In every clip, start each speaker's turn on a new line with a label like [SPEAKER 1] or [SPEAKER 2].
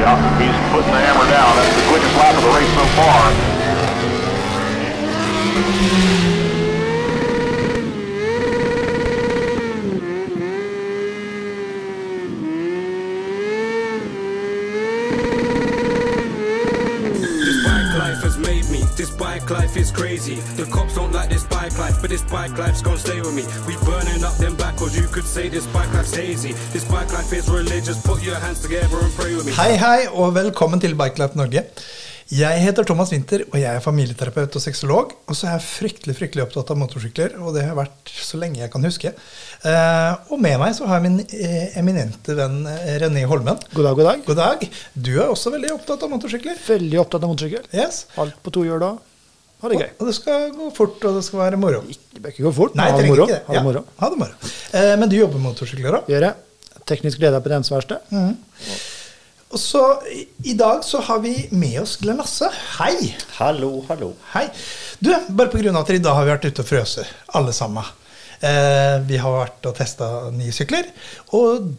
[SPEAKER 1] out. He's putting the hammer down. That's the quickest lap of the race so far.
[SPEAKER 2] This bike life has made me. This bike life is crazy. The cops don't like this bike life, but this bike life's gonna stay with me. We burning up them backwards. You could say this bike life's hazy. This bike life is religious. Put your hands together and pray with me.
[SPEAKER 3] Hei, hei, og velkommen til Bikelife Norge. Jeg heter Thomas Winther, og jeg er familieterapeut og sexolog. Og så er jeg fryktelig fryktelig opptatt av motorsykler, og det har jeg vært så lenge jeg kan huske. Eh, og med meg så har jeg min eh, eminente venn eh, René Holmen.
[SPEAKER 4] God dag, god dag.
[SPEAKER 3] God dag. Du er også veldig opptatt av motorsykler.
[SPEAKER 4] Veldig opptatt av motorsykkel.
[SPEAKER 3] Yes.
[SPEAKER 4] Alt på to hjul da. Ha det gøy.
[SPEAKER 3] Og det skal gå fort, og det skal være moro.
[SPEAKER 4] Det bør ikke gå fort,
[SPEAKER 3] Nei,
[SPEAKER 4] men ha det
[SPEAKER 3] trenger
[SPEAKER 4] moro.
[SPEAKER 3] ikke det.
[SPEAKER 4] Ha det moro.
[SPEAKER 3] Ja, ha det moro. Eh, men du jobber med motorsykler òg?
[SPEAKER 4] Gjør jeg. Teknisk leder på det eneste verste.
[SPEAKER 3] Og så i, i dag så har vi med oss Glenn Lasse. Hei!
[SPEAKER 5] Hallo, hallo.
[SPEAKER 3] Hei. Du, bare på grunn av at i dag har vi vært ute og frøse, alle sammen. Eh, vi har vært og testa nye sykler. Og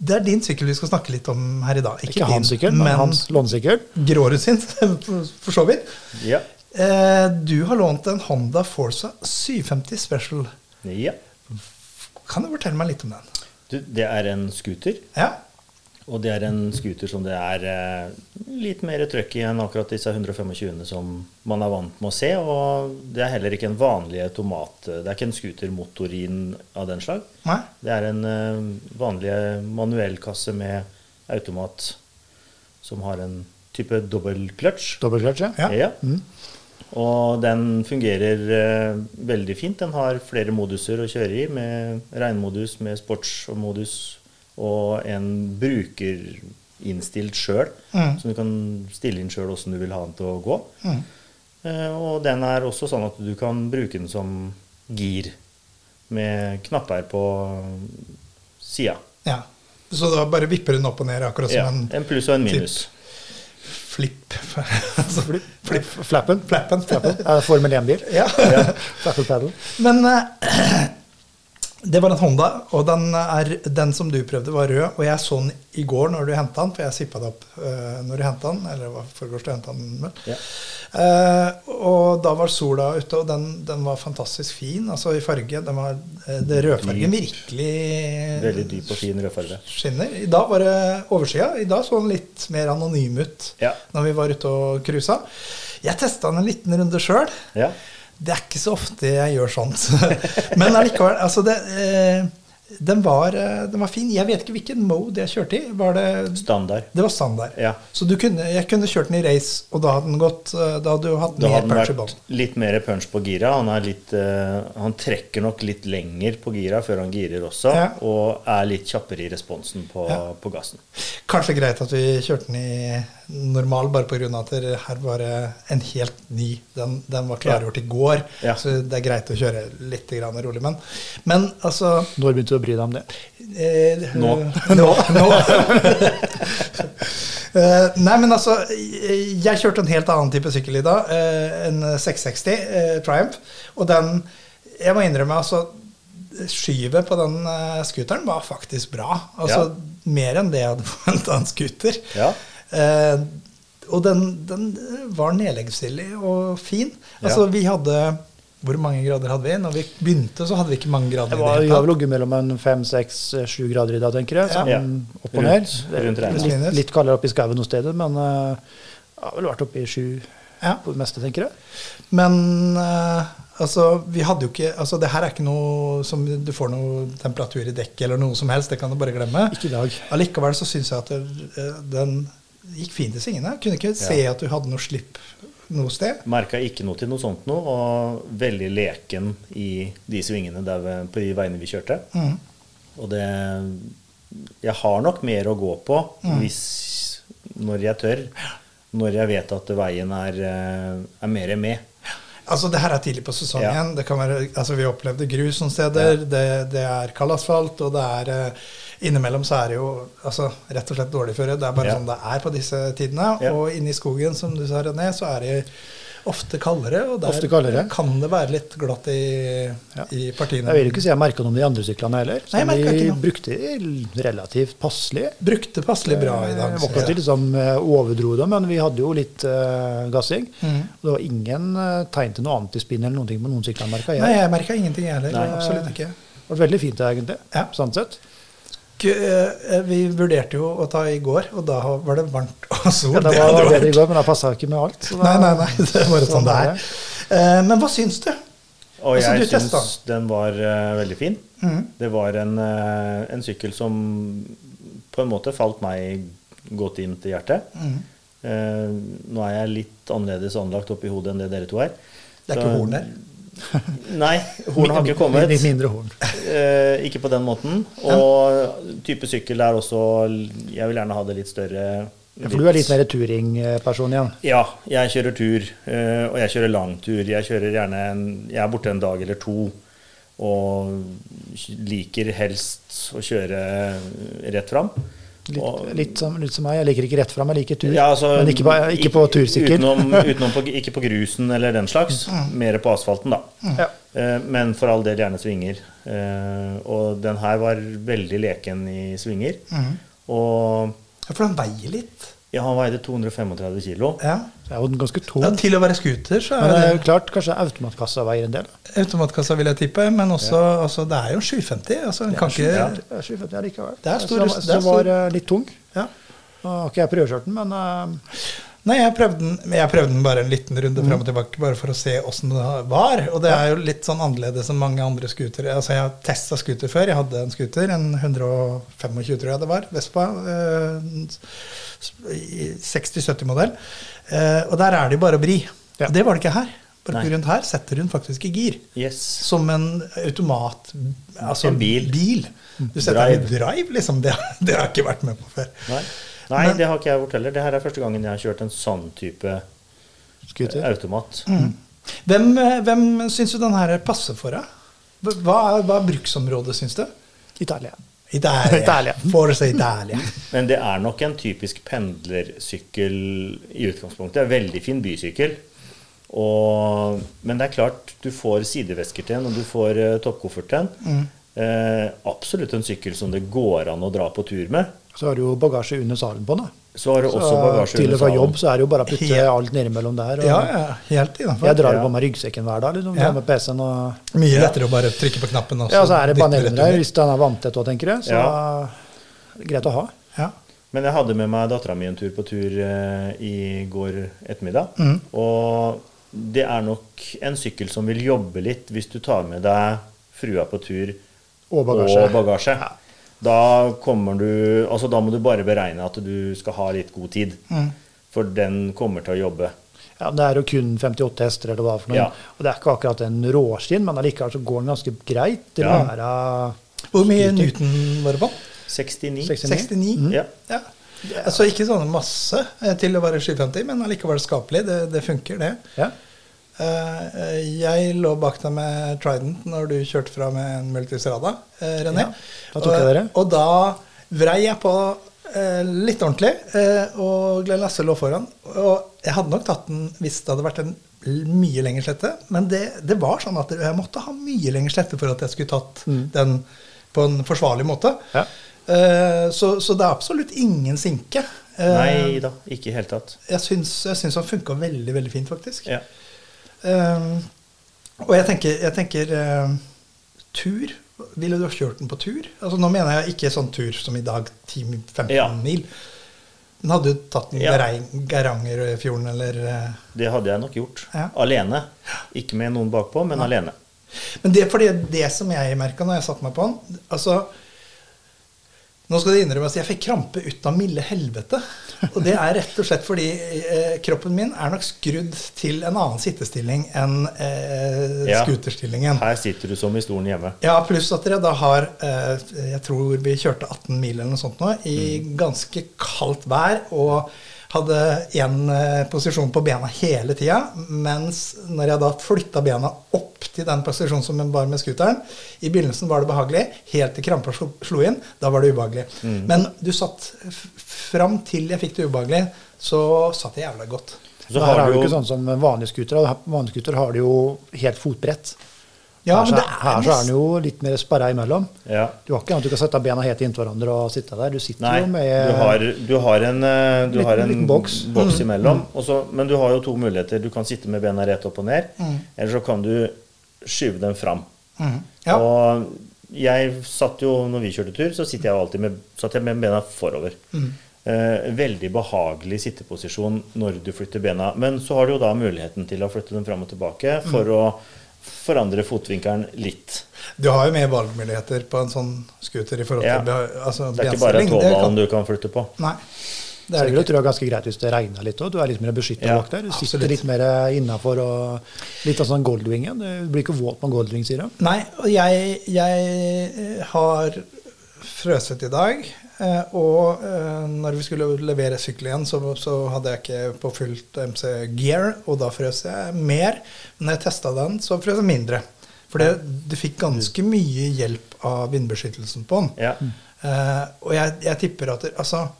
[SPEAKER 3] det er din sykkel vi skal snakke litt om her i dag. Ikke,
[SPEAKER 4] Ikke
[SPEAKER 3] din,
[SPEAKER 4] hans sykkel, men
[SPEAKER 3] men
[SPEAKER 4] hans lånesykkel.
[SPEAKER 3] Grårud sin, for så vidt.
[SPEAKER 5] Ja.
[SPEAKER 3] Eh, du har lånt en Honda Forza 750 Special.
[SPEAKER 5] ja.
[SPEAKER 3] Kan du fortelle meg litt om den?
[SPEAKER 5] Du, det er en scooter,
[SPEAKER 3] Ja?
[SPEAKER 5] og det er en scooter som det er eh, litt mer trøkk i enn akkurat disse 125 som man er vant med å se. Og det er heller ikke en vanlig automat. Det er ikke en scootermotorin av den slag.
[SPEAKER 3] Nei?
[SPEAKER 5] Det er en eh, vanlig manuellkasse med automat som har en type dobbel clutch.
[SPEAKER 4] Dobbeltklart, ja.
[SPEAKER 3] Ja. Mm.
[SPEAKER 5] Ja. Og den fungerer eh, veldig fint. Den har flere moduser å kjøre i, med regnmodus, med sportsmodus og en brukerinnstilt sjøl,
[SPEAKER 3] Mm.
[SPEAKER 5] som du kan stille inn sjøl åssen du vil ha den til å gå.
[SPEAKER 3] Mm.
[SPEAKER 5] Eh, og den er også sånn at du kan bruke den som gir, med knapper på sida.
[SPEAKER 3] ja. Så da bare vipper hun opp og ned, akkurat som
[SPEAKER 5] Ja,
[SPEAKER 3] en
[SPEAKER 5] en pluss og en minus.
[SPEAKER 3] flipp. altså,
[SPEAKER 4] Flipp. Flappen.
[SPEAKER 3] Flappen.
[SPEAKER 4] Flappen. Er det Formel 1-bil.
[SPEAKER 3] Ja.
[SPEAKER 4] Flappen paddle.
[SPEAKER 3] Men eh, det var en Honda, og den, er, den som du prøvde, var rød. Og jeg så den i går når du henta den, for jeg sippa det opp eh, når du henta den. Eller det var foregårs du henta den, vel.
[SPEAKER 5] Ja.
[SPEAKER 3] Eh, og da var sola ute, og den, den var fantastisk fin altså i farge. Den var, eh, det rødfargen virkelig
[SPEAKER 5] Veldig dyp og fin rødfarge.
[SPEAKER 3] skinner. I dag var det oversida. I dag så den litt mer anonym ut
[SPEAKER 5] Ja.
[SPEAKER 3] når vi var ute og cruisa. Jeg testa den en liten runde sjøl.
[SPEAKER 5] Ja.
[SPEAKER 3] Det er ikke så ofte jeg gjør sånt. Men allikevel, altså det, eh, den, var, eh, den var fin. Jeg vet ikke hvilken mode jeg kjørte i. Var det,
[SPEAKER 5] Standard.
[SPEAKER 3] det var standard.
[SPEAKER 5] Ja.
[SPEAKER 3] Så du kunne, jeg kunne kjørt den i race, og da hadde den gått eh, Da hadde du hatt
[SPEAKER 5] Da
[SPEAKER 3] mer
[SPEAKER 5] hadde
[SPEAKER 3] punch i
[SPEAKER 5] han
[SPEAKER 3] bånn.
[SPEAKER 5] vært litt mer punch på gira. Han, er litt, eh, han trekker nok litt lenger på gira før han girer også,
[SPEAKER 3] Ja.
[SPEAKER 5] og er litt kjappere i responsen på,
[SPEAKER 3] Ja.
[SPEAKER 5] på gassen.
[SPEAKER 3] Kanskje greit at vi kjørte den i normal, bare pga. at det her var eh, en helt ny. Den, den var klargjort i går,
[SPEAKER 5] Ja.
[SPEAKER 3] så det er greit å kjøre litt grann rolig. Men, men altså
[SPEAKER 4] Når begynte du å bry deg om det?
[SPEAKER 3] Eh,
[SPEAKER 5] Nå.
[SPEAKER 3] nå. nå. Eh, nei, men altså Jeg jeg kjørte en helt annen type sykkel i dag. eh, en 660 eh, Triumph. Og den Jeg må innrømme, altså Skyvet på den eh, scooteren var faktisk bra. Altså mer enn det jeg hadde forventa av en scooter.
[SPEAKER 5] Ja.
[SPEAKER 3] Eh, og den, den var nedleggsvillig og fin. Altså,
[SPEAKER 5] Ja.
[SPEAKER 3] vi hadde Hvor mange grader hadde vi? Når vi begynte, så hadde vi ikke mange grader. i
[SPEAKER 4] Jeg
[SPEAKER 3] det
[SPEAKER 4] var,
[SPEAKER 3] hele
[SPEAKER 4] jeg har
[SPEAKER 3] tatt.
[SPEAKER 4] vel ligget mellom en fem, seks, sju grader i dag, tenker jeg. Sånn
[SPEAKER 5] Ja.
[SPEAKER 4] opp og ned.
[SPEAKER 5] Rundt- rundt regnet.
[SPEAKER 4] litt, litt kaldere oppe i skauen noe sted, men eh, jeg har vel vært oppe i sju
[SPEAKER 3] Ja.
[SPEAKER 4] på det meste, tenker jeg.
[SPEAKER 3] Men eh, altså, vi hadde jo ikke Altså, det her er ikke noe som du får noe temperatur i dekket eller noe som helst. Det kan du bare glemme.
[SPEAKER 4] Ikke i dag.
[SPEAKER 3] Allikevel så syns jeg at det, eh, den gikk fint i svingene. Kunne ikke se at du hadde noe slipp noe sted.
[SPEAKER 5] Merka ikke noe til noe sånt nå, og veldig leken i de svingene der vi, på de veiene vi kjørte.
[SPEAKER 3] Mm.
[SPEAKER 5] Og det Jeg har nok mer å gå på
[SPEAKER 3] Mm.
[SPEAKER 5] hvis Når jeg tør. Når jeg vet at veien er, eh, er mer med.
[SPEAKER 3] Altså, det her er tidlig på sesongen.
[SPEAKER 5] Ja.
[SPEAKER 3] Det kan være, altså, vi opplevde grus noen steder. Det, det er kald asfalt, og det er eh, innimellom så er det jo altså, rett og slett dårlig føre. Det er bare
[SPEAKER 5] Ja.
[SPEAKER 3] sånn det er på disse tidene.
[SPEAKER 5] Ja.
[SPEAKER 3] Og inne i skogen, som du sa, René, så er det Ofte kaldere, og der
[SPEAKER 4] Ofte kaldere.
[SPEAKER 3] kan det være litt glatt i, i partiene.
[SPEAKER 4] Jeg vil ikke si jeg merka noe om de andre syklene heller.
[SPEAKER 3] Nei, jeg
[SPEAKER 4] Som
[SPEAKER 3] merket
[SPEAKER 4] vi
[SPEAKER 3] ikke noe.
[SPEAKER 4] brukte de relativt passelig.
[SPEAKER 3] Brukte passelig bra i dag.
[SPEAKER 4] Det var
[SPEAKER 3] synes
[SPEAKER 4] ikke at vi
[SPEAKER 3] jeg.
[SPEAKER 4] liksom eh, overdro det, men vi hadde jo litt eh, gassing.
[SPEAKER 3] Mhm.
[SPEAKER 4] Og det var ingen eh, tegn til noe antispinn eller noen ting på noen sykler, merka
[SPEAKER 3] Nei,
[SPEAKER 4] jeg.
[SPEAKER 3] jeg merka ingenting, jeg heller.
[SPEAKER 4] Nei.
[SPEAKER 3] Absolutt ikke.
[SPEAKER 4] Det var veldig fint, egentlig.
[SPEAKER 3] Ja.
[SPEAKER 4] Sånn sett.
[SPEAKER 3] K- eh, Vi vurderte jo å ta i går, og da var det varmt og sol.
[SPEAKER 4] Ja, det
[SPEAKER 3] hadde
[SPEAKER 4] var
[SPEAKER 3] vært-
[SPEAKER 4] bedre i går, men det passa ikke med alt. så da-
[SPEAKER 3] Nei, nei, nei. Det er bare sånn det er. Eh, Men hva syns du?
[SPEAKER 5] Og
[SPEAKER 3] Altså, du
[SPEAKER 5] jeg
[SPEAKER 3] testet Mm.
[SPEAKER 5] syns den var eh, veldig fin. Det var en, eh, en sykkel som på en måte falt meg godt inn til hjertet.
[SPEAKER 3] Mm.
[SPEAKER 5] Eh, nå er jeg litt annerledes anlagt oppi hodet enn det dere to er.
[SPEAKER 3] Det er ikke horn der.
[SPEAKER 5] Nei, horn har ikke kommet.
[SPEAKER 4] Litt mindre horn.
[SPEAKER 5] Eh, ikke på den måten. Og type sykkel er også Jeg vil gjerne ha det litt større.
[SPEAKER 4] Ja, For du er litt mer touringperson igjen.
[SPEAKER 5] Ja, jeg kjører tur, eh, og jeg kjører lang tur. Jeg kjører gjerne en, jeg er borte en dag eller to, og liker helst å kjøre rett fram.
[SPEAKER 4] Litt,
[SPEAKER 5] Og-
[SPEAKER 4] litt, som, litt som meg. Jeg liker ikke rett fram, jeg liker tur.
[SPEAKER 5] Ja, altså,
[SPEAKER 4] men ikke på, ikke på tursykkel.
[SPEAKER 5] Utenom, utenom på, ikke på grusen eller den slags, mer på asfalten, da.
[SPEAKER 4] Mm. Ja.
[SPEAKER 5] Eh, Men for all del gjerne svinger. Eh, Og den her var veldig leken i svinger.
[SPEAKER 4] Mm.
[SPEAKER 5] Og
[SPEAKER 3] Ja, For den veier litt.
[SPEAKER 5] ja, han veide 235 kilo.
[SPEAKER 3] Ja.
[SPEAKER 4] Det er jo ganske tung.
[SPEAKER 3] ja, Til å være scooter, så
[SPEAKER 4] Men det er
[SPEAKER 3] er
[SPEAKER 4] jo klart, kanskje automatkassa veier en del.
[SPEAKER 3] det automatkassa, vil jeg tippe. Men også, altså, det er jo 750. Altså, en kan ikke
[SPEAKER 5] Ja.
[SPEAKER 4] Det er 750 allikevel.
[SPEAKER 3] Det er stor-
[SPEAKER 4] Som-
[SPEAKER 3] det er
[SPEAKER 4] som
[SPEAKER 3] stor-
[SPEAKER 4] var eh, litt tung.
[SPEAKER 3] ja.
[SPEAKER 4] Nå har ikke jeg prøvekjørt den, men eh,
[SPEAKER 3] Nei, jeg prøvde, den, men jeg prøvde den bare en liten runde
[SPEAKER 5] Mm.
[SPEAKER 3] fram og tilbake, bare for å se åssen det var. Og det er jo litt sånn annerledes enn mange andre scootere. Altså, jeg har testa scooter før. Jeg hadde en scooter, en 125, tror jeg det var, Vespa. eh, i 60-70-modell. Eh, og der er det jo bare å vri.
[SPEAKER 4] Ja.
[SPEAKER 3] Det var det ikke her. Bare
[SPEAKER 5] Nei.
[SPEAKER 3] rundt her setter hun faktisk i gir.
[SPEAKER 5] Yes.
[SPEAKER 3] Som en automat Altså
[SPEAKER 5] En bil.
[SPEAKER 3] Du setter den i
[SPEAKER 5] Drive.
[SPEAKER 3] drive, liksom. Det, det har jeg ikke vært med på før.
[SPEAKER 5] Nei, Nei
[SPEAKER 3] Men-
[SPEAKER 5] det har ikke jeg gjort heller. Det her er første gangen jeg har kjørt en sånn type
[SPEAKER 4] scooter.
[SPEAKER 5] automat.
[SPEAKER 3] Hvem, eh, hvem syns du den her passer for? da? Hva- Hva, er- hva er bruksområdet, syns du?
[SPEAKER 4] Italia.
[SPEAKER 3] Italia.
[SPEAKER 4] Italia.
[SPEAKER 3] Forza Italia.
[SPEAKER 5] Men det er nok en typisk pendlersykkel i utgangspunktet. En veldig fin bysykkel. Og, men det er klart, du får sidevesker til den, og du får eh, toppkoffert til den. Eh, absolutt en sykkel som det går an å dra på tur med.
[SPEAKER 4] Så har du jo bagasje under salen på den. da.
[SPEAKER 5] Så har du også
[SPEAKER 4] Så
[SPEAKER 5] bagasje
[SPEAKER 4] til
[SPEAKER 5] under
[SPEAKER 4] og fra
[SPEAKER 5] salen.
[SPEAKER 4] jobb så er det jo bare å putte
[SPEAKER 3] Helt-
[SPEAKER 4] alt nedimellom der. Og
[SPEAKER 3] Ja, ja, helt
[SPEAKER 4] Jeg
[SPEAKER 3] innafor.
[SPEAKER 4] drar jo
[SPEAKER 5] Ja.
[SPEAKER 4] på meg ryggsekken hver dag. liksom,
[SPEAKER 3] Ja.
[SPEAKER 4] tar med PC-en og...
[SPEAKER 3] Mye lettere å bare trykke på knappen.
[SPEAKER 4] Ja, så er det
[SPEAKER 3] dytte
[SPEAKER 4] paneler
[SPEAKER 3] rett
[SPEAKER 4] der
[SPEAKER 3] under.
[SPEAKER 4] hvis den er vanntett òg, tenker jeg. Så
[SPEAKER 5] Ja.
[SPEAKER 4] det er greit å ha.
[SPEAKER 3] Ja.
[SPEAKER 5] Men jeg hadde med meg dattera mi en tur på tur eh, i går ettermiddag.
[SPEAKER 4] Mm.
[SPEAKER 5] Og det er nok en sykkel som vil jobbe litt hvis du tar med deg frua på tur
[SPEAKER 4] Og bagasje.
[SPEAKER 5] og bagasje. Da kommer du Altså, da må du bare beregne at du skal ha litt god tid.
[SPEAKER 4] Mm.
[SPEAKER 5] For den kommer til å jobbe.
[SPEAKER 4] Ja, men Det er jo kun 58 hester, eller hva for noe.
[SPEAKER 5] Ja.
[SPEAKER 4] Og det er ikke akkurat en råskinn, men allikevel så går den ganske greit. til å
[SPEAKER 5] Ja.
[SPEAKER 4] være...
[SPEAKER 3] Hvor mye Newton var det på?
[SPEAKER 5] 69.
[SPEAKER 4] 69.
[SPEAKER 3] 69?
[SPEAKER 5] Ja.
[SPEAKER 3] Ja. Altså ikke sånn masse eh, til å være 750, men allikevel skapelig. Det, det funker, det.
[SPEAKER 4] Ja.
[SPEAKER 3] Eh, jeg lå bak deg med Trident når du kjørte fra med en Multistrada, eh, René.
[SPEAKER 4] Ja, da tok jeg dere.
[SPEAKER 3] Og, og da vrei jeg på eh, litt ordentlig, eh, og Glenn Lasse lå foran. Og jeg hadde nok tatt den hvis det hadde vært en l- mye lengre slette, men det, det var sånn at jeg måtte ha mye lengre slette for at jeg skulle tatt den på en forsvarlig måte.
[SPEAKER 4] Mm. Ja.
[SPEAKER 3] Eh, så, så det er absolutt ingen sinke. Eh,
[SPEAKER 5] Nei da, ikke i det hele tatt.
[SPEAKER 3] Jeg syns, jeg syns han funka veldig, veldig fint, faktisk.
[SPEAKER 5] Ja.
[SPEAKER 3] Ehm, og jeg tenker, jeg tenker ehm, tur. Ville du ha kjørt den på tur? Altså Nå mener jeg ikke sånn tur som i dag, 10-15
[SPEAKER 5] Ja.
[SPEAKER 3] mil. Men hadde du tatt den i
[SPEAKER 5] Ja.
[SPEAKER 3] Gerei- Geirangerfjorden eller eh,
[SPEAKER 5] Det hadde jeg nok gjort.
[SPEAKER 3] Ja.
[SPEAKER 5] Alene. Ikke med noen bakpå, men alene.
[SPEAKER 3] Men det er fordi det som jeg merka når jeg satte meg på den Altså Nå skal det innrømmes, jeg fikk krampe ut av milde helvete. Og det er rett og slett fordi eh, kroppen min er nok skrudd til en annen sittestilling enn eh,
[SPEAKER 5] Ja.
[SPEAKER 3] scooterstillingen.
[SPEAKER 5] Her sitter du som i stolen hjemme.
[SPEAKER 3] Ja, pluss at dere da har eh, Jeg tror vi kjørte 18 mil eller noe sånt nå, i
[SPEAKER 4] Mm.
[SPEAKER 3] ganske kaldt vær. og hadde én eh, posisjon på bena hele tida, mens når jeg da flytta bena opp til den posisjonen som jeg var med scooteren I begynnelsen var det behagelig, helt til krampa slo, slo inn. Da var det ubehagelig.
[SPEAKER 4] Mm.
[SPEAKER 3] Men du satt f- fram til jeg fikk det ubehagelig, så satt jeg jævla godt.
[SPEAKER 5] Så
[SPEAKER 4] det
[SPEAKER 5] har
[SPEAKER 4] her er
[SPEAKER 5] du
[SPEAKER 4] jo
[SPEAKER 5] jo-
[SPEAKER 4] ikke sånn som vanlige skutere. Vanlige skutere har det jo helt fotbrett.
[SPEAKER 3] Ja, men
[SPEAKER 4] her, så-
[SPEAKER 3] det er
[SPEAKER 4] her så er
[SPEAKER 3] nest-
[SPEAKER 4] den jo litt mer sperra imellom.
[SPEAKER 5] Ja.
[SPEAKER 4] Du har ikke annet du kan sette bena helt inntil hverandre og sitte der. Du sitter
[SPEAKER 5] Nei,
[SPEAKER 4] jo med
[SPEAKER 5] du har, du har en, eh, du
[SPEAKER 4] Liten-
[SPEAKER 5] har en
[SPEAKER 4] liten boks. Mm.
[SPEAKER 5] imellom. og så- men du har jo to muligheter. Du kan sitte med bena rett opp og ned,
[SPEAKER 4] Mm.
[SPEAKER 5] eller så kan du skyve dem fram.
[SPEAKER 3] Mhm. Ja.
[SPEAKER 5] Og jeg satt jo, når vi kjørte tur, så sitter jeg jo alltid med, satt jeg med bena forover.
[SPEAKER 4] Mm.
[SPEAKER 5] Eh, veldig behagelig sitteposisjon når du flytter bena. Men så har du jo da muligheten til å flytte dem fram og tilbake
[SPEAKER 4] Mm.
[SPEAKER 5] for å forandre fotvinkelen litt.
[SPEAKER 3] Du har jo mer valgmuligheter på en sånn scooter i forhold
[SPEAKER 5] Ja.
[SPEAKER 3] til be- altså,
[SPEAKER 5] Det er ikke bare
[SPEAKER 3] bensinling. Det kan-
[SPEAKER 5] tåballen du kan flytte på.
[SPEAKER 3] Nei. Det
[SPEAKER 4] Så
[SPEAKER 3] er det
[SPEAKER 4] det vil
[SPEAKER 3] ikke.
[SPEAKER 4] jeg tro er ganske greit hvis det regner litt òg. Du er litt mer beskytta
[SPEAKER 5] Ja,
[SPEAKER 4] bak der. Du sitter
[SPEAKER 3] absolutt.
[SPEAKER 4] litt mer innafor og litt av sånn Goldwingen. Du blir ikke våt med Goldwing, sier de.
[SPEAKER 3] Nei, og jeg, jeg har frøset i dag. eh, Og eh, når vi skulle levere sykkelen igjen, så, så hadde jeg ikke på fullt MC-gear, og da frøs jeg mer. Men når jeg testa den, så frøs jeg mindre. For det, du fikk ganske mye hjelp av vindbeskyttelsen på den.
[SPEAKER 5] Ja.
[SPEAKER 3] Eh, og jeg, jeg tipper at det, altså,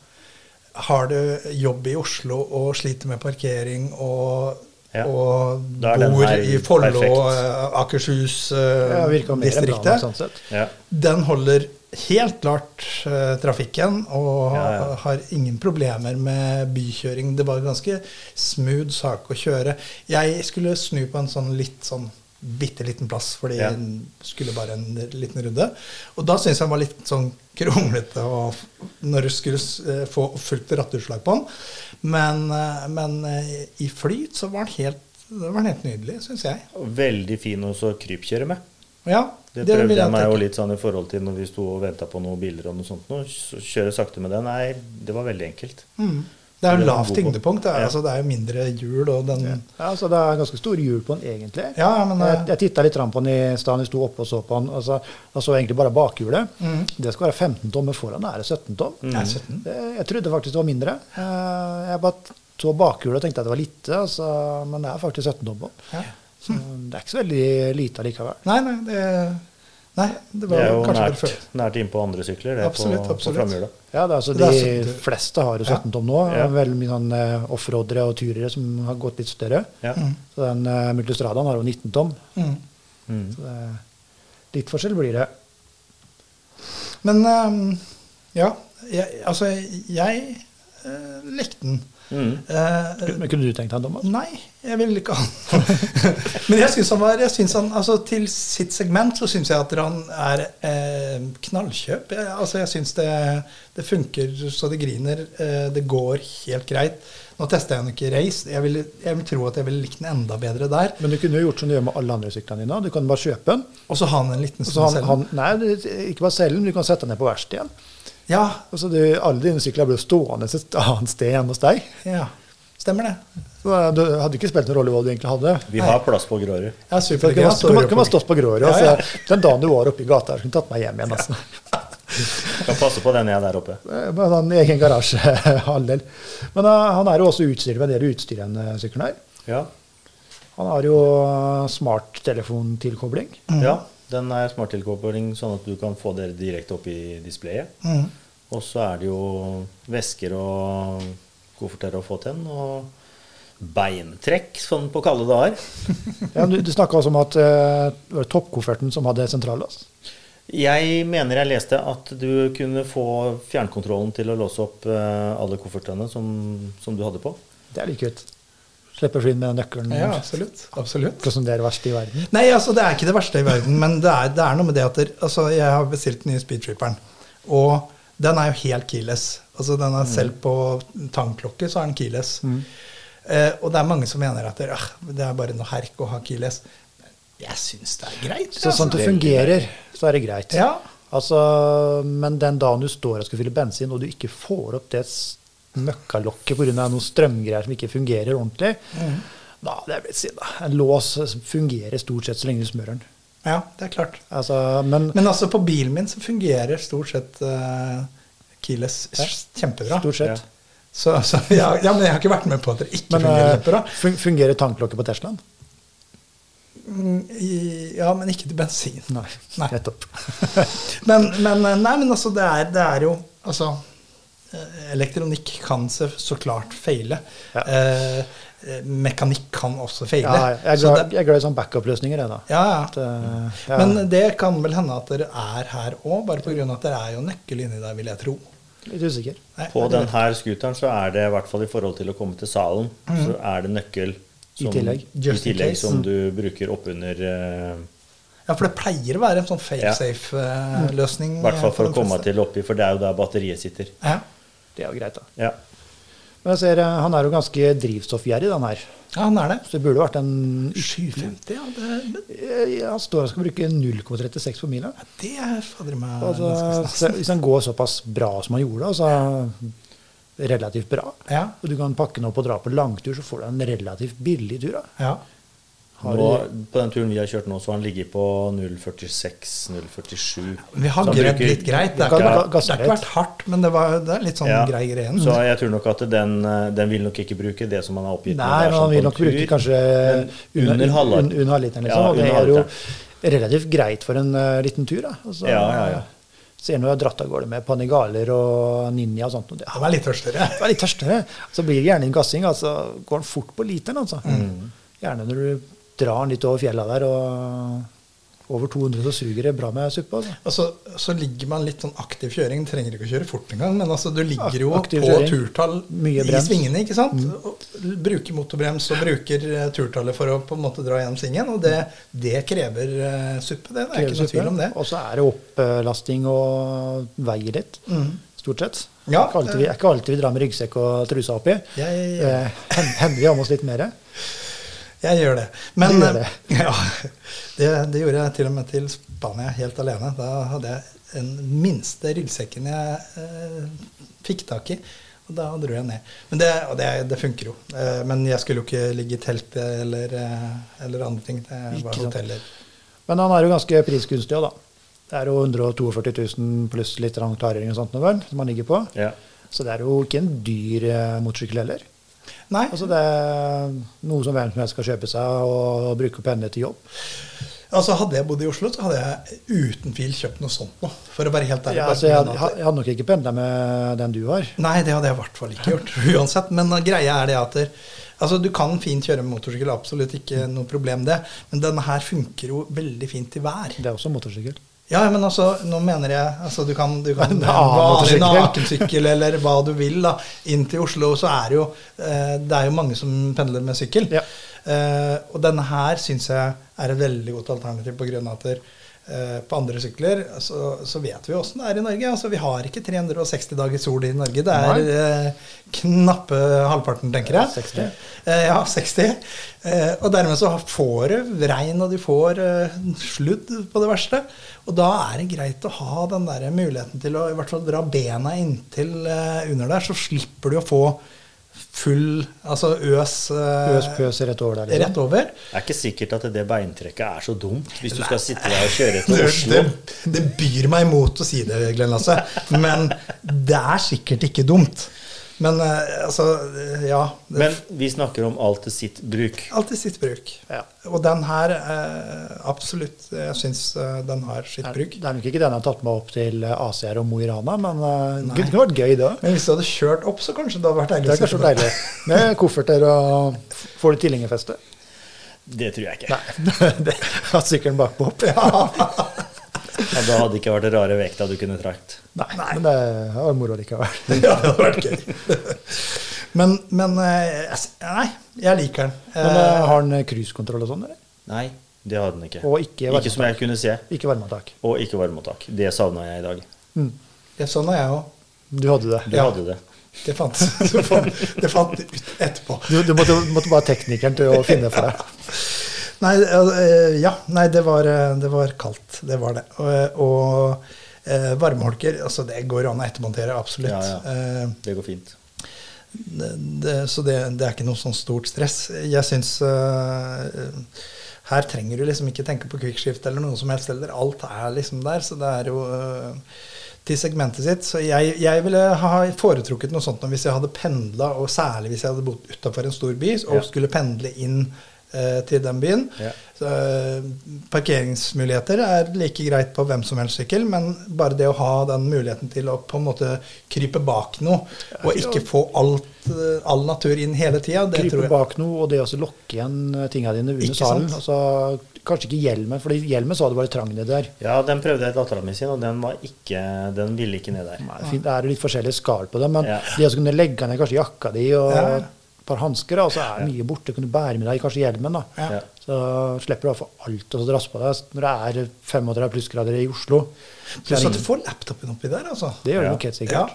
[SPEAKER 3] har du jobb i Oslo og sliter med parkering og,
[SPEAKER 5] Ja.
[SPEAKER 3] og
[SPEAKER 5] Da er den
[SPEAKER 3] bor
[SPEAKER 5] her
[SPEAKER 3] i Follo,
[SPEAKER 5] perfekt.
[SPEAKER 3] eh, Akershus
[SPEAKER 4] Ja, virka mer enn bra nok,
[SPEAKER 3] distriktet
[SPEAKER 4] sånn sett.
[SPEAKER 5] Ja.
[SPEAKER 3] den holder helt klart eh, trafikken og
[SPEAKER 5] Ja, ja.
[SPEAKER 3] har ingen problemer med bykjøring. Det var en ganske smooth sak å kjøre. Jeg skulle snu på en sånn litt sånn bitte liten plass, fordi
[SPEAKER 5] Ja.
[SPEAKER 3] jeg skulle bare en liten runde. Og da syntes jeg den var litt sånn kronglete og f- når du skulle s- eh, få fullt rattutslag på den. Men, eh, men eh, i flyt så var den helt, det var den helt nydelig, syns jeg.
[SPEAKER 5] Veldig fin å så krypkjøre med.
[SPEAKER 3] Ja,
[SPEAKER 5] Det
[SPEAKER 3] det
[SPEAKER 5] prøvde
[SPEAKER 3] vil
[SPEAKER 5] jeg meg jo
[SPEAKER 3] tenke.
[SPEAKER 5] litt sånn i forhold til når vi sto og venta på noen biler og noe sånt. nå, så Kjøre sakte med det. Nei, det var veldig enkelt.
[SPEAKER 3] Mm, Det er
[SPEAKER 5] Det
[SPEAKER 3] jo
[SPEAKER 5] er en
[SPEAKER 3] lavt
[SPEAKER 5] god bok.
[SPEAKER 3] tyngdepunkt. Det er,
[SPEAKER 5] Ja.
[SPEAKER 3] altså, det er jo mindre hjul og den
[SPEAKER 4] Ja, så det er ganske store hjul på den, egentlig.
[SPEAKER 3] Ja, ja, men,
[SPEAKER 4] jeg
[SPEAKER 3] eh,
[SPEAKER 4] jeg titta litt grann på den i stad, vi sto oppe og så på den. og så- Jeg så egentlig bare bakhjulet.
[SPEAKER 3] Mm.
[SPEAKER 4] Det skal være 15 tom, men foran er det 17 tom.
[SPEAKER 3] er 17.
[SPEAKER 4] Det- Jeg trodde faktisk det var mindre. Eh, Jeg bare så bakhjulet og tenkte at det var lite, altså, men det er faktisk 17 tom på den.
[SPEAKER 3] Ja.
[SPEAKER 4] Så
[SPEAKER 3] Mm.
[SPEAKER 4] Det er ikke så veldig lite likevel.
[SPEAKER 3] Nei, nei, det, nei, det
[SPEAKER 5] Det
[SPEAKER 3] var
[SPEAKER 5] er jo
[SPEAKER 3] kanskje bare
[SPEAKER 5] nært,
[SPEAKER 3] før.
[SPEAKER 5] nært innpå andre sykler, det
[SPEAKER 3] Absolutt,
[SPEAKER 5] på,
[SPEAKER 3] absolutt.
[SPEAKER 5] på framhjula.
[SPEAKER 4] Ja, det er altså
[SPEAKER 3] Det er
[SPEAKER 4] De
[SPEAKER 3] sånn-
[SPEAKER 4] fleste har jo 17 tom nå.
[SPEAKER 5] Ja.
[SPEAKER 4] Veldig mye sånn eh, offroadere og turere som har gått litt større.
[SPEAKER 5] Ja.
[SPEAKER 3] Mm.
[SPEAKER 4] Så den eh, Multistradaen har jo 19 tom.
[SPEAKER 5] Mm.
[SPEAKER 4] Så det, litt forskjell blir det.
[SPEAKER 3] Men ehm, ja, jeg, altså jeg eh, likte den.
[SPEAKER 5] Mm.
[SPEAKER 3] Eh, Mm.
[SPEAKER 4] Men kunne du tenkt deg, altså? Thomas?
[SPEAKER 3] nei, jeg vil ikke ha den. Men jeg syns han var jeg synes han, altså Til sitt segment så syns jeg at han er eh, knallkjøp. Jeg, altså jeg syns det, det funker så det griner. Eh, det går helt greit. Nå testa jeg den ikke i race. Jeg vil, jeg vil tro at jeg ville likt den enda bedre der.
[SPEAKER 4] Men du kunne jo gjort som du gjør med alle andre syklene dine. Du kan bare kjøpe den.
[SPEAKER 3] Og så ha den en liten
[SPEAKER 4] Og så
[SPEAKER 3] stund
[SPEAKER 4] han,
[SPEAKER 3] selv.
[SPEAKER 4] han, nei, du- ikke bare selge den, du kan sette den ned på verkstedet igjen.
[SPEAKER 3] Ja,
[SPEAKER 4] Og så du, alle dine sykler blir jo stående et annet sted hjemme hos deg.
[SPEAKER 3] ja. Stemmer det.
[SPEAKER 4] Så du hadde ikke spilt noen rolle hva du egentlig hadde.
[SPEAKER 5] Vi har plass på Grårud.
[SPEAKER 3] Ja,
[SPEAKER 4] Så
[SPEAKER 3] super,
[SPEAKER 4] du kunne- kunne kunne bare stått på Grårud.
[SPEAKER 3] Ja, ja.
[SPEAKER 4] altså, Den dagen du var oppe i gata, skulle du tatt meg hjem igjen. Altså.
[SPEAKER 5] Kan passe på den jeg er der oppe.
[SPEAKER 4] Med sånn egen garasjehalvdel. Men eh, han er jo også utstyrt med en del utstyr, den eh, sykkelen her.
[SPEAKER 5] Ja.
[SPEAKER 4] Han har jo eh, smarttelefontilkobling.
[SPEAKER 3] Mm.
[SPEAKER 5] ja. Den er smarttilkobling, sånn at du kan få dere direkte opp i displayet.
[SPEAKER 3] Mm.
[SPEAKER 5] Og så er det jo vesker og kofferter å få til den, og beintrekk, sånn på kalde dager.
[SPEAKER 4] Ja, du du snakka også om at eh, det var toppkofferten som hadde sentrallås.
[SPEAKER 5] Jeg mener jeg leste at du kunne få fjernkontrollen til å låse opp eh, alle koffertene som, som du hadde på.
[SPEAKER 4] Det er litt kult. Slipper du inn med nøkkelen.
[SPEAKER 3] Ja, absolutt. absolutt.
[SPEAKER 4] Ikke som det er det verste i verden.
[SPEAKER 3] Nei, altså det er ikke det verste i verden, men det er, det er noe med det at der, altså, jeg har bestilt den nye speedtripperen, og den er jo helt keyless. Altså den
[SPEAKER 4] Mm.
[SPEAKER 3] er selv på tangklokke så er den keyless. Eh, og det er mange som mener at det, ah, det er bare noe herk å ha keyless. Jeg syns det er greit. altså.
[SPEAKER 4] Så sånn at det
[SPEAKER 5] veldig
[SPEAKER 4] fungerer, så er det greit.
[SPEAKER 3] Ja.
[SPEAKER 4] Altså, men den dagen du står og skal fylle bensin, og du ikke får opp det s- møkkalokket pga. noen strømgreier som ikke fungerer ordentlig,
[SPEAKER 3] Mm.
[SPEAKER 4] da hadde jeg blitt sinna. En lås fungerer stort sett så lenge du smører den.
[SPEAKER 3] ja, det er klart.
[SPEAKER 4] Altså, men
[SPEAKER 3] Men altså på bilen min så fungerer stort sett eh, keyless kjempebra.
[SPEAKER 4] stort sett.
[SPEAKER 3] Så, så ja, ja, men jeg har ikke vært med på at det ikke
[SPEAKER 4] Men
[SPEAKER 3] fungerer
[SPEAKER 4] eh,
[SPEAKER 3] kjempebra.
[SPEAKER 4] fun- fungerer tanklokket på Teslaen?
[SPEAKER 3] Mm, I- Ja, men ikke til bensin.
[SPEAKER 4] Nei.
[SPEAKER 3] Nei. eh,
[SPEAKER 4] Nettopp.
[SPEAKER 3] men, men, nei, men altså, det er, det er jo Altså, eh, elektronikk kan så, så klart feile.
[SPEAKER 4] Ja.
[SPEAKER 3] Eh, eh, mekanikk kan også feile.
[SPEAKER 4] Ja, jeg, er
[SPEAKER 3] Så
[SPEAKER 4] glad,
[SPEAKER 3] det-
[SPEAKER 4] jeg er glad i sånne backup-løsninger. jeg, da.
[SPEAKER 3] ja, ja.
[SPEAKER 4] At, eh, ja.
[SPEAKER 3] Men det kan vel hende at dere er her òg, bare pga. at dere er jo nøkkel inni der, vil jeg tro.
[SPEAKER 4] Litt usikker.
[SPEAKER 3] Nei,
[SPEAKER 5] På
[SPEAKER 3] det er
[SPEAKER 5] den her scooteren så er det i hvert fall i forhold til å komme til salen, så er det nøkkel som,
[SPEAKER 4] tillegg.
[SPEAKER 5] i
[SPEAKER 3] Just in
[SPEAKER 5] tillegg
[SPEAKER 3] case.
[SPEAKER 5] som du bruker oppunder eh,
[SPEAKER 3] det. Ja, for det pleier å være en sånn eh, failsafe-løsning.
[SPEAKER 5] I hvert fall for å komme til oppi, for det er jo der batteriet sitter.
[SPEAKER 3] Ja.
[SPEAKER 4] Det er jo greit, da.
[SPEAKER 5] Ja.
[SPEAKER 4] Men jeg ser, eh, han er jo ganske drivstoffgjerrig, den her.
[SPEAKER 3] ja, han er det.
[SPEAKER 4] Så det burde vært en
[SPEAKER 3] 750, ja. Det,
[SPEAKER 4] Eh, Han står og skal bruke 0,36 på mila.
[SPEAKER 3] det er fader meg
[SPEAKER 4] Altså,
[SPEAKER 3] ganske stas.
[SPEAKER 4] så hvis han går såpass bra som han gjorde, altså relativt bra,
[SPEAKER 3] Ja.
[SPEAKER 4] og du kan pakke den opp og dra på langtur, så får du en relativt billig tur. Da.
[SPEAKER 3] Ja.
[SPEAKER 4] Har
[SPEAKER 5] nå,
[SPEAKER 4] du-
[SPEAKER 5] på den turen vi har kjørt nå, så har han ligget på 0,46-0,47.
[SPEAKER 3] Vi har grødd litt greit. Det
[SPEAKER 4] Ga-
[SPEAKER 3] har
[SPEAKER 4] ga-
[SPEAKER 3] ikke, det
[SPEAKER 4] gasset
[SPEAKER 3] har ikke vært hardt, men det, var, det er litt sånn
[SPEAKER 5] Ja.
[SPEAKER 3] grei greien.
[SPEAKER 5] Så jeg tror nok at den, eh, den vil nok ikke bruke det som han har oppgitt. når
[SPEAKER 4] Nei,
[SPEAKER 5] det er
[SPEAKER 4] men
[SPEAKER 5] sånn
[SPEAKER 4] han
[SPEAKER 5] på
[SPEAKER 4] vil
[SPEAKER 5] en
[SPEAKER 4] nok bruke
[SPEAKER 5] tur.
[SPEAKER 4] kanskje
[SPEAKER 5] Men under halvliteren.
[SPEAKER 4] un- under halvliteren, liksom.
[SPEAKER 5] Ja,
[SPEAKER 4] og det
[SPEAKER 5] under
[SPEAKER 4] er jo relativt greit for en eh, liten tur. Da. Altså,
[SPEAKER 5] Ja, ja, ja.
[SPEAKER 4] Ser når jeg har dratt av gårde med panigaler og ninja og sånt. Og det
[SPEAKER 3] Han er litt tørstere.
[SPEAKER 4] Du er litt tørstere. Så blir det gjerne en gassing. Altså, går den fort på literen, altså.
[SPEAKER 3] Mm.
[SPEAKER 4] Gjerne når du drar den litt over fjella der, og over 200 så suger det bra med suppe. Altså.
[SPEAKER 3] Og så, så ligger man litt sånn aktiv kjøring. Trenger ikke å kjøre fort engang, men altså, du ligger jo
[SPEAKER 4] Aktiv
[SPEAKER 3] på
[SPEAKER 4] kjøring.
[SPEAKER 3] turtall
[SPEAKER 4] Mye
[SPEAKER 3] i
[SPEAKER 4] brems. Mm.
[SPEAKER 3] svingene. ikke sant? Og bruker motorbrems og bruker eh, turtallet for å på en måte dra gjennom svingen. Og det, det krever eh, suppe, det. Det er ikke noe tvil om det.
[SPEAKER 4] Og så er det opplasting og veier litt, stort sett.
[SPEAKER 3] Mm. Ja,
[SPEAKER 4] ikke alltid, vi, er ikke alltid vi drar med ryggsekk og trusa oppi.
[SPEAKER 3] Jeg-
[SPEAKER 4] Eh, hen- hender vi har med oss litt mer.
[SPEAKER 3] Jeg gjør det. Men
[SPEAKER 4] Du gjør det.
[SPEAKER 3] Ja, det, det gjorde jeg til og med til Spania helt alene. Da hadde jeg den minste ryggsekken jeg eh, fikk tak i. Og da dro jeg ned. Men det, og det, det funker jo. Eh, men jeg skulle jo ikke ligge i telt eller, eh, eller andre ting. Det
[SPEAKER 4] Ikke
[SPEAKER 3] var
[SPEAKER 4] sant.
[SPEAKER 3] hoteller.
[SPEAKER 4] Men han er jo ganske priskunstig òg, da. Det er jo 142 000 pluss litt grann klarering og sånt nå vel, som han ligger på.
[SPEAKER 5] Ja.
[SPEAKER 4] Så det er jo ikke en dyr eh, motorsykkel heller.
[SPEAKER 3] Nei,
[SPEAKER 4] Altså det er noe som hvem som helst skal kjøpe seg og, og bruke og pendle til jobb.
[SPEAKER 3] altså hadde jeg bodd i Oslo, så hadde jeg uten tvil kjøpt noe sånt nå. For å være helt ærlig.
[SPEAKER 4] Ja,
[SPEAKER 3] Bare
[SPEAKER 4] altså jeg,
[SPEAKER 3] på grunn av at-
[SPEAKER 4] jeg hadde nok ikke pendla med den du har.
[SPEAKER 3] Nei, det hadde jeg i hvert fall ikke gjort. uansett. Men greia er det at der, altså, du kan fint kjøre med motorsykkel, absolutt ikke noe problem det. Men denne her funker jo veldig fint i vær.
[SPEAKER 4] Det er også en motorsykkel.
[SPEAKER 3] Ja, men altså, nå mener jeg altså, Du kan, du kan
[SPEAKER 4] En annen
[SPEAKER 3] vanlig
[SPEAKER 4] motorsykkel.
[SPEAKER 3] nakensykkel eller hva du vil da, inn til Oslo. Så er det jo eh, Det er jo mange som pendler med sykkel.
[SPEAKER 4] Ja.
[SPEAKER 3] Eh, og denne her syns jeg er et veldig godt alternativ på grunn av at der, eh, på andre sykler så, så vet vi åssen det er i Norge. Altså, vi har ikke 360 dager sol i Norge. Det er eh, knappe halvparten, tenker jeg.
[SPEAKER 4] 60.
[SPEAKER 3] Eh, ja, 60. Eh, og dermed så får du regn, og du får eh, sludd på det verste. Og da er det greit å ha den der muligheten til å i hvert fall dra bena inntil eh, under der, så slipper du å få full altså øs, eh,
[SPEAKER 4] Pøs, pøs rett over der. liksom.
[SPEAKER 3] rett over.
[SPEAKER 5] Det er ikke sikkert at det beintrekket er så dumt hvis du skal sitte der og kjøre til
[SPEAKER 3] Det,
[SPEAKER 5] Oslo.
[SPEAKER 3] det, det byr meg imot å si det, Glenn Lasse, men det er sikkert ikke dumt. Men eh, altså, eh, ja. Det,
[SPEAKER 5] Men vi snakker om alt til sitt bruk.
[SPEAKER 3] Alltid sitt bruk.
[SPEAKER 4] Ja.
[SPEAKER 3] Og den her, eh, absolutt, jeg syns eh, den har sitt
[SPEAKER 4] Det er,
[SPEAKER 3] bruk.
[SPEAKER 4] det er nok ikke den jeg har tatt meg opp til eh, ACR og Mo i Rana, men eh, det kunne vært gøy, da.
[SPEAKER 3] Men hvis du hadde kjørt opp, så kanskje det hadde vært
[SPEAKER 4] Det
[SPEAKER 3] deilig.
[SPEAKER 4] er kanskje deilig. Med kofferter og Får du tilhengerfeste?
[SPEAKER 5] Det tror jeg ikke.
[SPEAKER 4] Nei. Det har sykkelen bakpå opp.
[SPEAKER 5] Ja, da hadde det ikke vært det rare vekta du kunne trakt.
[SPEAKER 4] Nei, men det var moro likevel.
[SPEAKER 3] Ja, det hadde vært gøy. Men, men eh, jeg s- Nei, jeg liker den.
[SPEAKER 4] Men
[SPEAKER 3] Eh,
[SPEAKER 4] eh, har den cruisekontroll og sånn, eller?
[SPEAKER 5] Nei, det hadde den ikke.
[SPEAKER 4] Og ikke varmetak.
[SPEAKER 5] som jeg kunne se.
[SPEAKER 4] Ikke varmetak.
[SPEAKER 5] Og ikke varmetak. Det savna jeg i dag.
[SPEAKER 3] ja, sånn er jeg òg.
[SPEAKER 4] Du hadde det.
[SPEAKER 5] Du
[SPEAKER 3] Ja.
[SPEAKER 5] hadde det.
[SPEAKER 3] Det fant det fant, det fant ut etterpå.
[SPEAKER 4] Du, du måtte, måtte bare teknikeren til å finne for deg.
[SPEAKER 3] Nei, eh, ja, nei det, var, eh, det var kaldt. Det var det. Og, eh, og eh, varmeholker, altså det går an å ettermontere, absolutt.
[SPEAKER 5] Ja, ja.
[SPEAKER 3] Eh,
[SPEAKER 5] Det går fint.
[SPEAKER 3] det, det- så det, det er ikke noe sånn stort stress. Jeg syns øh, Her trenger du liksom ikke tenke på quickskift eller noe som helst heller. Alt er liksom der, så det er jo øh, til segmentet sitt. Så jeg, jeg ville ha foretrukket noe sånt nå hvis jeg hadde pendla, og særlig hvis jeg hadde bodd utafor en stor by og skulle pendle inn eh, til den byen.
[SPEAKER 5] Ja.
[SPEAKER 3] Så, eh, parkeringsmuligheter er like greit på hvem som helst sykkel, men bare det å ha den muligheten til å på en måte krype bak noe, og ikke få alt, eh, all natur inn hele tida, det tror
[SPEAKER 4] Krype
[SPEAKER 3] jeg
[SPEAKER 4] bak noe, og det å lokke igjen tinga dine under
[SPEAKER 3] Ikke
[SPEAKER 4] salen.
[SPEAKER 3] sant?
[SPEAKER 4] Altså, kanskje ikke hjelmen, for hjelmen sa det var litt trang nedi der.
[SPEAKER 5] Ja, den prøvde jeg dattera mi sin, og den, var ikke, den ville ikke ned der.
[SPEAKER 4] Nei, fint, Det er litt forskjellige skall på dem, men
[SPEAKER 5] Ja.
[SPEAKER 4] det å kunne legge ned kanskje jakka di og
[SPEAKER 3] Ja.
[SPEAKER 4] et par hansker, så er det mye borte. Kunne bære med deg kanskje hjelmen. da.
[SPEAKER 3] Ja.
[SPEAKER 5] Ja.
[SPEAKER 4] Så slipper du å få alt og så drasse på deg når det er 35 plussgrader i Oslo.
[SPEAKER 3] Pluss at du får laptopen oppi der, altså.
[SPEAKER 4] Det gjør du
[SPEAKER 5] Ja.
[SPEAKER 4] nok helt sikkert.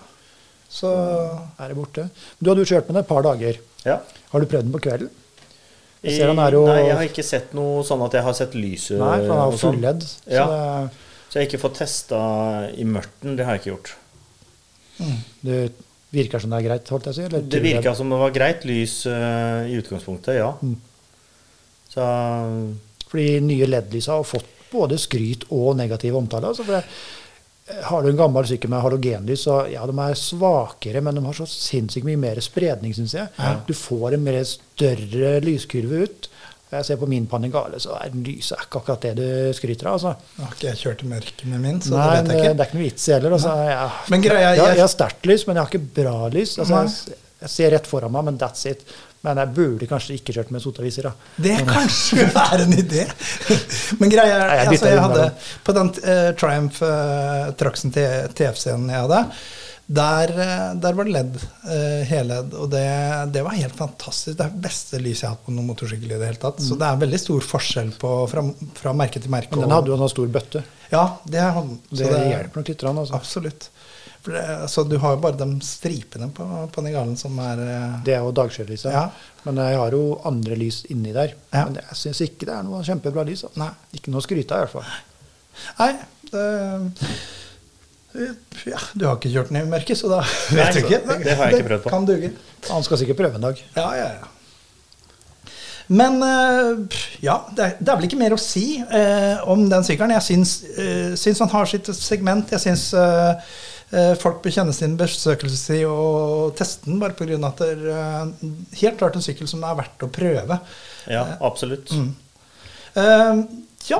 [SPEAKER 3] Så
[SPEAKER 4] Er det borte. Men du hadde jo kjørt med den et par dager.
[SPEAKER 5] Ja.
[SPEAKER 4] Har du prøvd den på kvelden? Jeg
[SPEAKER 5] I-
[SPEAKER 4] ser han er jo
[SPEAKER 5] Nei, jeg har ikke sett noe sånn at jeg har sett lyset.
[SPEAKER 4] Nei, for han er
[SPEAKER 5] og
[SPEAKER 4] jo
[SPEAKER 5] sånn.
[SPEAKER 4] fulledd. Så
[SPEAKER 5] Ja.
[SPEAKER 4] det-
[SPEAKER 5] Så jeg har ikke fått testa i mørten. Det har jeg ikke gjort.
[SPEAKER 4] det virker som det er greit, holdt jeg å si. Eller,
[SPEAKER 5] Det virka som det var greit lys eh, i utgangspunktet, ja. Så
[SPEAKER 4] Fordi nye LED-lysa har fått både skryt og negativ omtale. Altså for det, eh, har du en gammel sykkel med halogenlys, så ja, de er svakere, men de har så sinnssykt mye mer spredning, syns jeg. Du får en mer større lyskurve ut. Jeg ser på min Panigale, så er lyset er ikke akkurat det du skryter av. Altså.
[SPEAKER 3] nå har ikke jeg kjørt i mørket med min, så
[SPEAKER 4] Nei,
[SPEAKER 3] det
[SPEAKER 4] det,
[SPEAKER 3] vet jeg
[SPEAKER 4] det
[SPEAKER 3] ikke.
[SPEAKER 4] er ikke noe vits i heller. Altså, jeg,
[SPEAKER 3] Men greia-
[SPEAKER 4] jeg,
[SPEAKER 3] jeg-
[SPEAKER 4] jeg har sterkt lys, men jeg har ikke bra lys. Altså, jeg, jeg ser rett foran meg, men that's it. Men jeg burde kanskje ikke kjørt med sotaviser. da.
[SPEAKER 3] Det kanskje vil være en idé. Men greia er
[SPEAKER 4] Nei, jeg
[SPEAKER 3] altså,
[SPEAKER 4] bytter
[SPEAKER 3] jeg
[SPEAKER 4] den
[SPEAKER 3] hadde,
[SPEAKER 4] mellom.
[SPEAKER 3] På den eh, Triumph uh, Traxen TF-scenen jeg hadde, der, eh, der var det LED. eh, heled. Og det, det var helt fantastisk. Det er det beste lyset jeg har hatt på noen motorsykkel i det hele tatt. Så det er veldig stor forskjell på, fra, fra merke til merke.
[SPEAKER 4] Mm. Men den hadde jo en sånn stor bøtte.
[SPEAKER 3] Ja, det, er han. Så
[SPEAKER 4] Det, hjelper nok litt. grann, Altså.
[SPEAKER 3] Absolutt. For det, så du har jo bare de stripene på, på Nigalen som er eh,
[SPEAKER 4] Det er jo dagsskjelllyset.
[SPEAKER 3] Ja.
[SPEAKER 4] Men jeg har jo andre lys inni der.
[SPEAKER 3] Ja.
[SPEAKER 4] Men jeg syns ikke det er noe kjempebra lys. Altså.
[SPEAKER 3] Nei.
[SPEAKER 4] Ikke noe å skryte av, i hvert fall.
[SPEAKER 3] Nei, det ja, Du har ikke kjørt den i mørket, så da
[SPEAKER 5] Nei,
[SPEAKER 3] vet du
[SPEAKER 5] så
[SPEAKER 3] ikke.
[SPEAKER 5] det- det har jeg ikke prøvd på.
[SPEAKER 3] Kan duge.
[SPEAKER 4] Han skal sikkert prøve en dag.
[SPEAKER 3] Ja, ja, ja. Men eh, pff, ja, det er, det er vel ikke mer å si eh, om den sykkelen. Jeg syns, eh, syns han har sitt segment. Jeg syns eh, eh, folk bør kjenne sin besøkelsestid og teste den, bare pga. at det er eh, helt klart en sykkel som det er verdt å prøve.
[SPEAKER 5] ja, absolutt.
[SPEAKER 3] Eh, ja,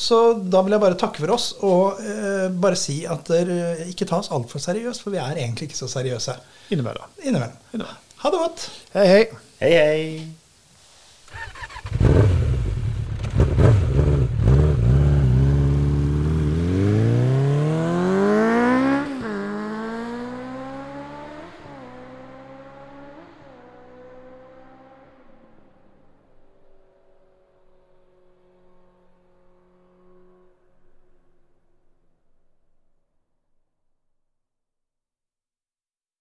[SPEAKER 3] så da vil jeg bare takke for oss og eh, bare si at dere ikke ta oss altfor seriøst, for vi er egentlig ikke så seriøse
[SPEAKER 4] Innimellom.
[SPEAKER 3] innimellom. Ha det godt.
[SPEAKER 4] Hei, hei.
[SPEAKER 5] Hei, hei.